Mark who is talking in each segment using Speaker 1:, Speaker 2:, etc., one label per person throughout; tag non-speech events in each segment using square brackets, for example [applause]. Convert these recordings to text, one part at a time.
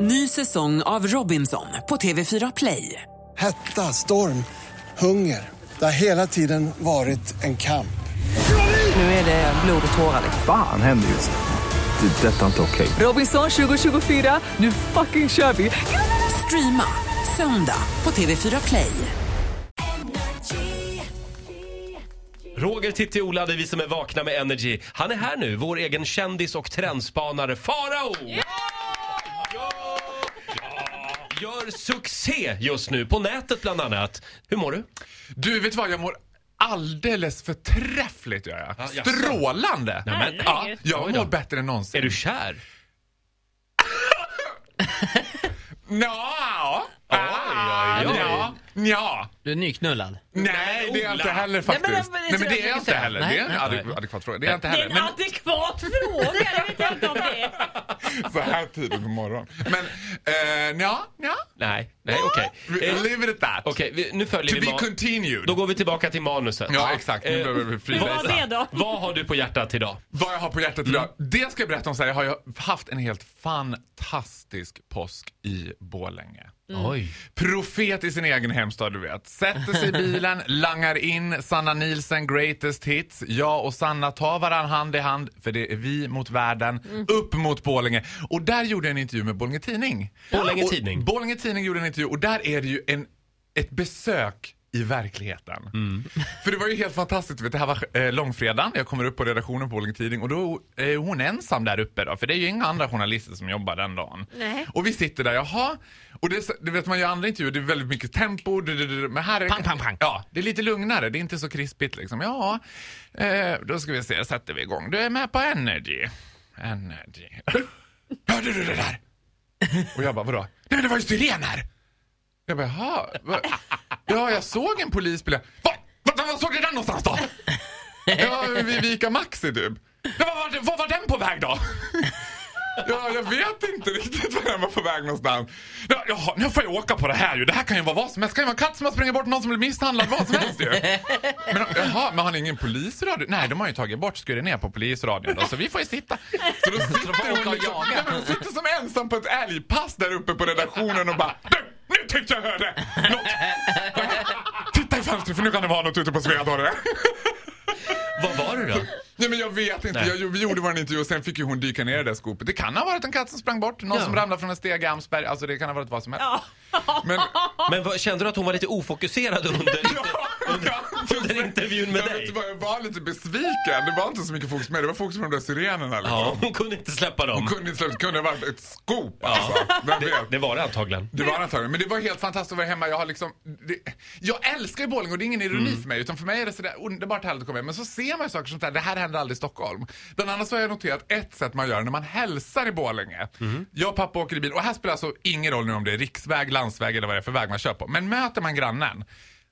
Speaker 1: Ny säsong av Robinson på TV4 Play.
Speaker 2: Hetta, storm, hunger. Det har hela tiden varit en kamp.
Speaker 1: Nu är det blod och tårar.
Speaker 3: Fan händer just nu. Det. är Detta är inte okej.
Speaker 1: Robinson 2024, nu fucking kör vi! Streama söndag på TV4 Play.
Speaker 4: Roger, Titti, Ola, det är vi som är vakna med Energy. Han är här nu, vår egen kändis och trendspanare Farao! Ja! Gör succé just nu, på nätet bland annat. Hur mår du?
Speaker 5: Du, vet vad? Jag mår alldeles förträffligt gör jag.
Speaker 4: Ja, jaså.
Speaker 5: Strålande!
Speaker 4: Nej, men-
Speaker 5: ja, jag
Speaker 4: Oj då.
Speaker 5: mår bättre än någonsin.
Speaker 4: Är du kär?
Speaker 5: Nja!
Speaker 4: oj, oj.
Speaker 5: Nja. Nja.
Speaker 6: Du är nyknullad.
Speaker 5: Nej, det är jag inte
Speaker 4: Ola.
Speaker 5: heller
Speaker 6: men- men-
Speaker 5: faktiskt.
Speaker 6: men-
Speaker 5: Nej, men det är jag inte heller.
Speaker 6: Nej,
Speaker 5: Det är en
Speaker 6: nej.
Speaker 5: adek- adekvat fråga. Det är jag inte
Speaker 7: Det
Speaker 5: heller.
Speaker 7: är en
Speaker 5: Men
Speaker 7: adekvat fråga, jag vet inte om det är.
Speaker 5: [laughs] så här tidigt på morgonen. Men eh, nja, nja.
Speaker 4: Nej, nej okej.
Speaker 5: Vi-
Speaker 4: Eh,
Speaker 5: Leave it at that.
Speaker 4: Okej, vi- nu
Speaker 5: To
Speaker 4: följer vi
Speaker 5: be
Speaker 4: man-
Speaker 5: continued.
Speaker 4: Då går vi tillbaka till manuset.
Speaker 5: Ja, exakt. Nu
Speaker 4: Eh,
Speaker 5: behöver vi
Speaker 7: Men vad
Speaker 5: freebasa.
Speaker 7: är det då?
Speaker 4: Vad har du på hjärtat idag?
Speaker 5: Vad jag har på hjärtat idag. Det ska jag berätta om sen. Jag har ju haft en helt fantastisk påsk i Borlänge.
Speaker 6: Oj.
Speaker 5: Profet i sin egen hemstad, du vet. Sätter
Speaker 4: [laughs]
Speaker 5: sig i bilen, langar in Sanna Nielsen greatest hits. Jag och Sanna tar varann hand i hand, för det är vi mot världen, upp mot Borlänge. Och där gjorde jag en intervju med Borlänge Tidning.
Speaker 4: Borlänge
Speaker 5: Och-
Speaker 4: Tidning.
Speaker 5: Borlänge Tidning gjorde en intervju och där är det ju en, ett besök i verkligheten.
Speaker 6: Mm.
Speaker 5: [laughs] För det var ju helt fantastiskt. du Vet, det här var eh, långfredagen. Jag kommer upp på redaktionen på Borlänge Tidning och då eh, är hon ensam där uppe då. För det är ju inga andra journalister som jobbar den dagen.
Speaker 7: Nej.
Speaker 5: Och vi sitter där, jaha. Och det, är så- du vet man gör andra intervjuer, det är väldigt mycket tempo. Du, du, du, du. men här är
Speaker 6: Pang, pang, pang.
Speaker 5: Ja, det är lite lugnare. Det är inte så krispigt liksom. Ja, eh, då ska vi se, sätter vi igång. Du är med på Energy. Energy. [laughs] Hörde du det där? Och jag bara, vadå? Nej men det var ju sirener! Jag bara, jaha. va- [laughs] Ja, jag såg en polisbil. Va? Va? Var såg du den någonstans då? Ja, vid Vika Maxi typ. Ja, var, var, var var den på väg då? [laughs] Ja, jag vet inte riktigt var den var på väg någonstans. Ja, jaha, nu får jag åka på det här ju. Det här kan ju vara vad som helst. Det kan ju vara en katt som har sprungit bort någon som blir misshandlad, vad som helst ju. Men, jaha, men har ni ingen polisradio? Nej, de har ju tagit bort, skurit ner på polisradion då, så vi får ju sitta. Så då sitter hon, liksom, nej, men hon sitter som ensam på ett älgpass där uppe på redaktionen och bara Du! Nu tyckte jag hörde något! Titta i fönstret för nu kan det vara något ute på Svedala.
Speaker 4: Vad var det då?
Speaker 5: Nej men jag vet inte. Jag, vi gjorde vår intervju och sen fick ju hon dyka ner i det där skopet. Det kan ha varit en katt som sprang bort, någon som ramlade från en stege i Amsberg. Alltså det kan ha varit vad som helst. Men,
Speaker 4: Men vad, kände du att hon var lite ofokuserad under... under intervjun med
Speaker 5: jag
Speaker 4: dig.
Speaker 5: Vet, vad, jag var lite besviken. Det var inte så mycket fokus med det. var fokus på de där sirenerna. Liksom.
Speaker 4: Ja, hon kunde inte släppa dem.
Speaker 5: Hon kunde inte släppa- det kunde ha varit ett skop alltså. Vem vet?
Speaker 4: Det var det antagligen.
Speaker 5: Det var antagligen. Men det var helt fantastiskt att vara hemma. Jag, har liksom, det, jag älskar ju Borlänge och det är ingen ironi
Speaker 4: Mm.
Speaker 5: för mig. Utan för mig är det sådär underbart härligt att komma hem. Men så ser man ju saker som det här. Det här händer aldrig i Stockholm. Bland annat så har jag noterat ett sätt man gör när man hälsar i Borlänge.
Speaker 4: Mm.
Speaker 5: Jag och pappa åker i bil. Och här spelar alltså ingen roll nu om det är riksväg, landsväg eller vad det är för väg man kör på. Men möter man grannen.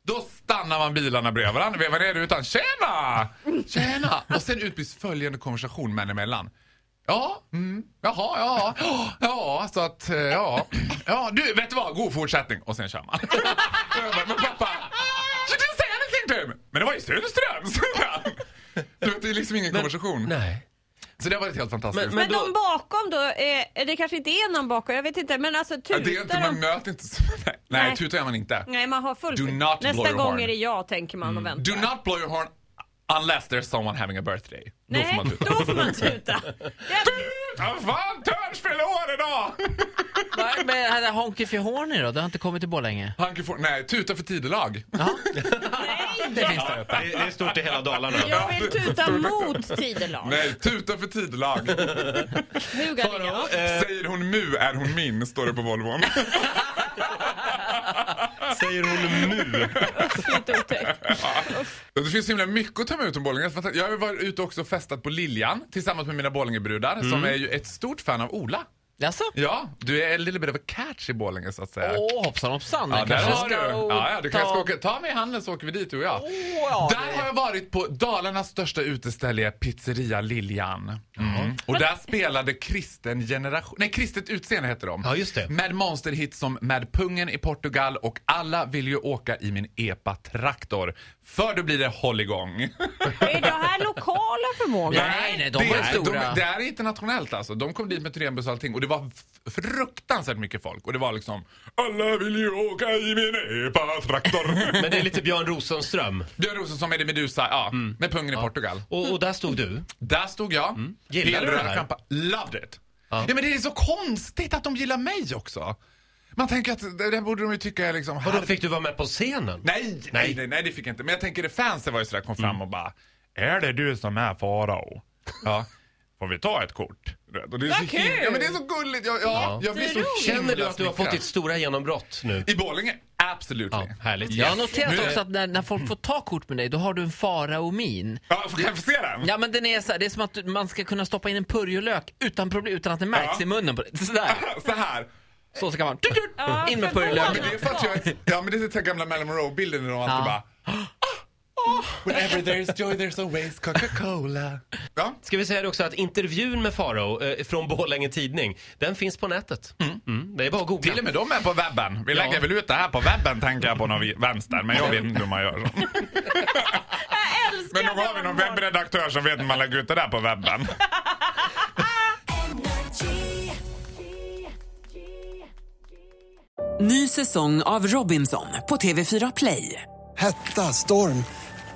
Speaker 5: Då stannar man bilarna bredvid varandra, vevar ner utan Tjena! Tjena! Och sen utbyts följande konversation män emellan. Ja, mm, jaha, ja, ja, ja, så att, eh, ja, ja, du, vet du vad, god fortsättning. Och sen kör man. [laughs] Och jag bara, Men pappa, you didn't say anything to him. Men det var ju Sundström, sa han. [laughs] Du vet, Det är liksom ingen konversation.
Speaker 4: Nej.
Speaker 5: Så det har varit helt fantastiskt.
Speaker 4: Men-
Speaker 7: Men
Speaker 4: då-
Speaker 7: de bakom då, eh, det kanske inte är någon bakom, jag vet inte. Men alltså
Speaker 5: Ja, det är inte,
Speaker 7: tutar
Speaker 5: man
Speaker 7: de?
Speaker 5: möter inte så- [laughs] Nej, nej
Speaker 7: Nej.
Speaker 5: tuta gör man inte.
Speaker 7: Nej, man har full
Speaker 5: Do not blow
Speaker 7: Nästa
Speaker 5: your
Speaker 7: gång
Speaker 5: horn. Mm.
Speaker 7: är det jag, tänker man och väntar.
Speaker 5: Do not blow your horn unless there's someone having a birthday. Då får
Speaker 7: Nej,
Speaker 5: man tuta.
Speaker 7: då får man tuta. Ja,
Speaker 5: Vad fan, Törns fyller år idag!
Speaker 6: Va, Men hade Honky för Horny då? Det har inte kommit till Borlänge.
Speaker 5: Hanke får, nej, tuta för tidelag.
Speaker 6: [laughs]
Speaker 7: nej,
Speaker 6: Finns där uppe.
Speaker 4: Det, det är stort i hela Dalarna.
Speaker 7: jag vill tuta mot tidelag.
Speaker 5: Nej, tuta för tidelag.
Speaker 7: Huga ligga.
Speaker 4: Farao, eh,
Speaker 5: Säger hon mu är hon min, står det på Volvon.
Speaker 4: säger hon nu.
Speaker 7: Lite otäckt.
Speaker 5: Det finns så himla mycket att ta med ut om Borlänge. Jag har ju varit ute också och festat på Liljan tillsammans med mina Borlängebrudar
Speaker 4: Mm.
Speaker 5: som är ju ett stort fan av Ola.
Speaker 6: Jaså?
Speaker 5: Ja, du är en little bit of a catch i Borlänge så att säga.
Speaker 6: Åh, hoppsan hoppsan.
Speaker 5: Ja,
Speaker 6: Ja,
Speaker 5: där
Speaker 6: kanske
Speaker 5: har du.
Speaker 6: ska...
Speaker 5: Ja, ja, du
Speaker 6: ta-
Speaker 5: kanske ska åka. Ta mig i handen så åker vi dit du och jag.
Speaker 6: ja,
Speaker 5: där har jag varit på Dalarnas största uteställe, Pizzeria Liljan. Mm. Och där spelade kristen generation, nej kristet utseende heter de.
Speaker 4: Ja, just det.
Speaker 5: Med monsterhits som Med pungen i Portugal och Alla vill ju åka i min epa-traktor. För då blir det hålligång. [laughs]
Speaker 7: Är det här lokala förmågor?
Speaker 6: Nej, nej, de
Speaker 5: det
Speaker 6: var ju
Speaker 5: är-
Speaker 6: stora.
Speaker 5: De, det här är internationellt alltså. De kom dit med turnébuss och allting. Och det var f- fruktansvärt mycket folk och det var liksom Alla vill ju åka i min epa-traktor.
Speaker 4: Men det är lite Björn Rosenström.
Speaker 5: Björn Rosenström är det Medusa, ja, med pungen i Portugal.
Speaker 4: Och, och där stod du.
Speaker 5: Där stod jag.
Speaker 4: Gillar
Speaker 5: Hel
Speaker 4: du det
Speaker 5: röd
Speaker 4: här?
Speaker 5: kampa- Loved it! Ja. men det är så konstigt att de gillar mig också. Man tänker att det där borde de ju tycka är liksom...
Speaker 4: Och då
Speaker 5: här-
Speaker 4: fick du vara med på scenen.
Speaker 5: Nej, nej, nej, nej, det fick jag inte. Men jag tänker det fansen var ju sådär, kom fram och bara Är det du som är farao? Ja. Får vi ta ett kort? Och det är så
Speaker 7: Vad kul!
Speaker 5: himla- Ja men det är så gulligt. Jag, ja, jag blir så
Speaker 7: roligt.
Speaker 5: himla
Speaker 4: Känner du att du har fått
Speaker 5: smickrad.
Speaker 4: ditt stora genombrott nu?
Speaker 5: I Borlänge? Absolut.
Speaker 4: Ja, härligt.
Speaker 5: Yes.
Speaker 6: Jag har
Speaker 5: Nu-
Speaker 6: noterat också att när, när folk får ta kort med dig, då har du en faraomin.
Speaker 5: Ja, får jag få se den?
Speaker 6: Ja men den är så här, det är som att du- man ska kunna stoppa in en purjolök utan problem, utan att det märks
Speaker 5: Ja.
Speaker 6: i munnen på dig. Sådär,
Speaker 5: Så här.
Speaker 6: så ska man tut, tut,
Speaker 7: Ja,
Speaker 6: in med
Speaker 5: Ja,
Speaker 7: förvånad.
Speaker 5: men
Speaker 6: purjolöken.
Speaker 5: det är för att jag... Ja, men det är den här gamla Marilyn Monroe-bilden när de alltid bara...
Speaker 6: Ja.
Speaker 5: Whenever there's joy there's always Coca-Cola. Ja.
Speaker 4: Ska vi säga det också att intervjun med Farao eh, från Borlänge Tidning, den finns på nätet. Mm, det är bara att googla.
Speaker 5: Till och med de är på webben. Vi lägger väl ut det här på webben tänker jag på någon vi- vänster, men jag vet inte hur man gör.
Speaker 7: Jag älskar
Speaker 5: Men nog
Speaker 7: det
Speaker 5: har vi
Speaker 7: man
Speaker 5: någon
Speaker 7: har.
Speaker 5: webbredaktör som vet hur man lägger ut det där på webben.
Speaker 1: Ny säsong av Robinson på TV4 Play.
Speaker 2: Hetta, storm,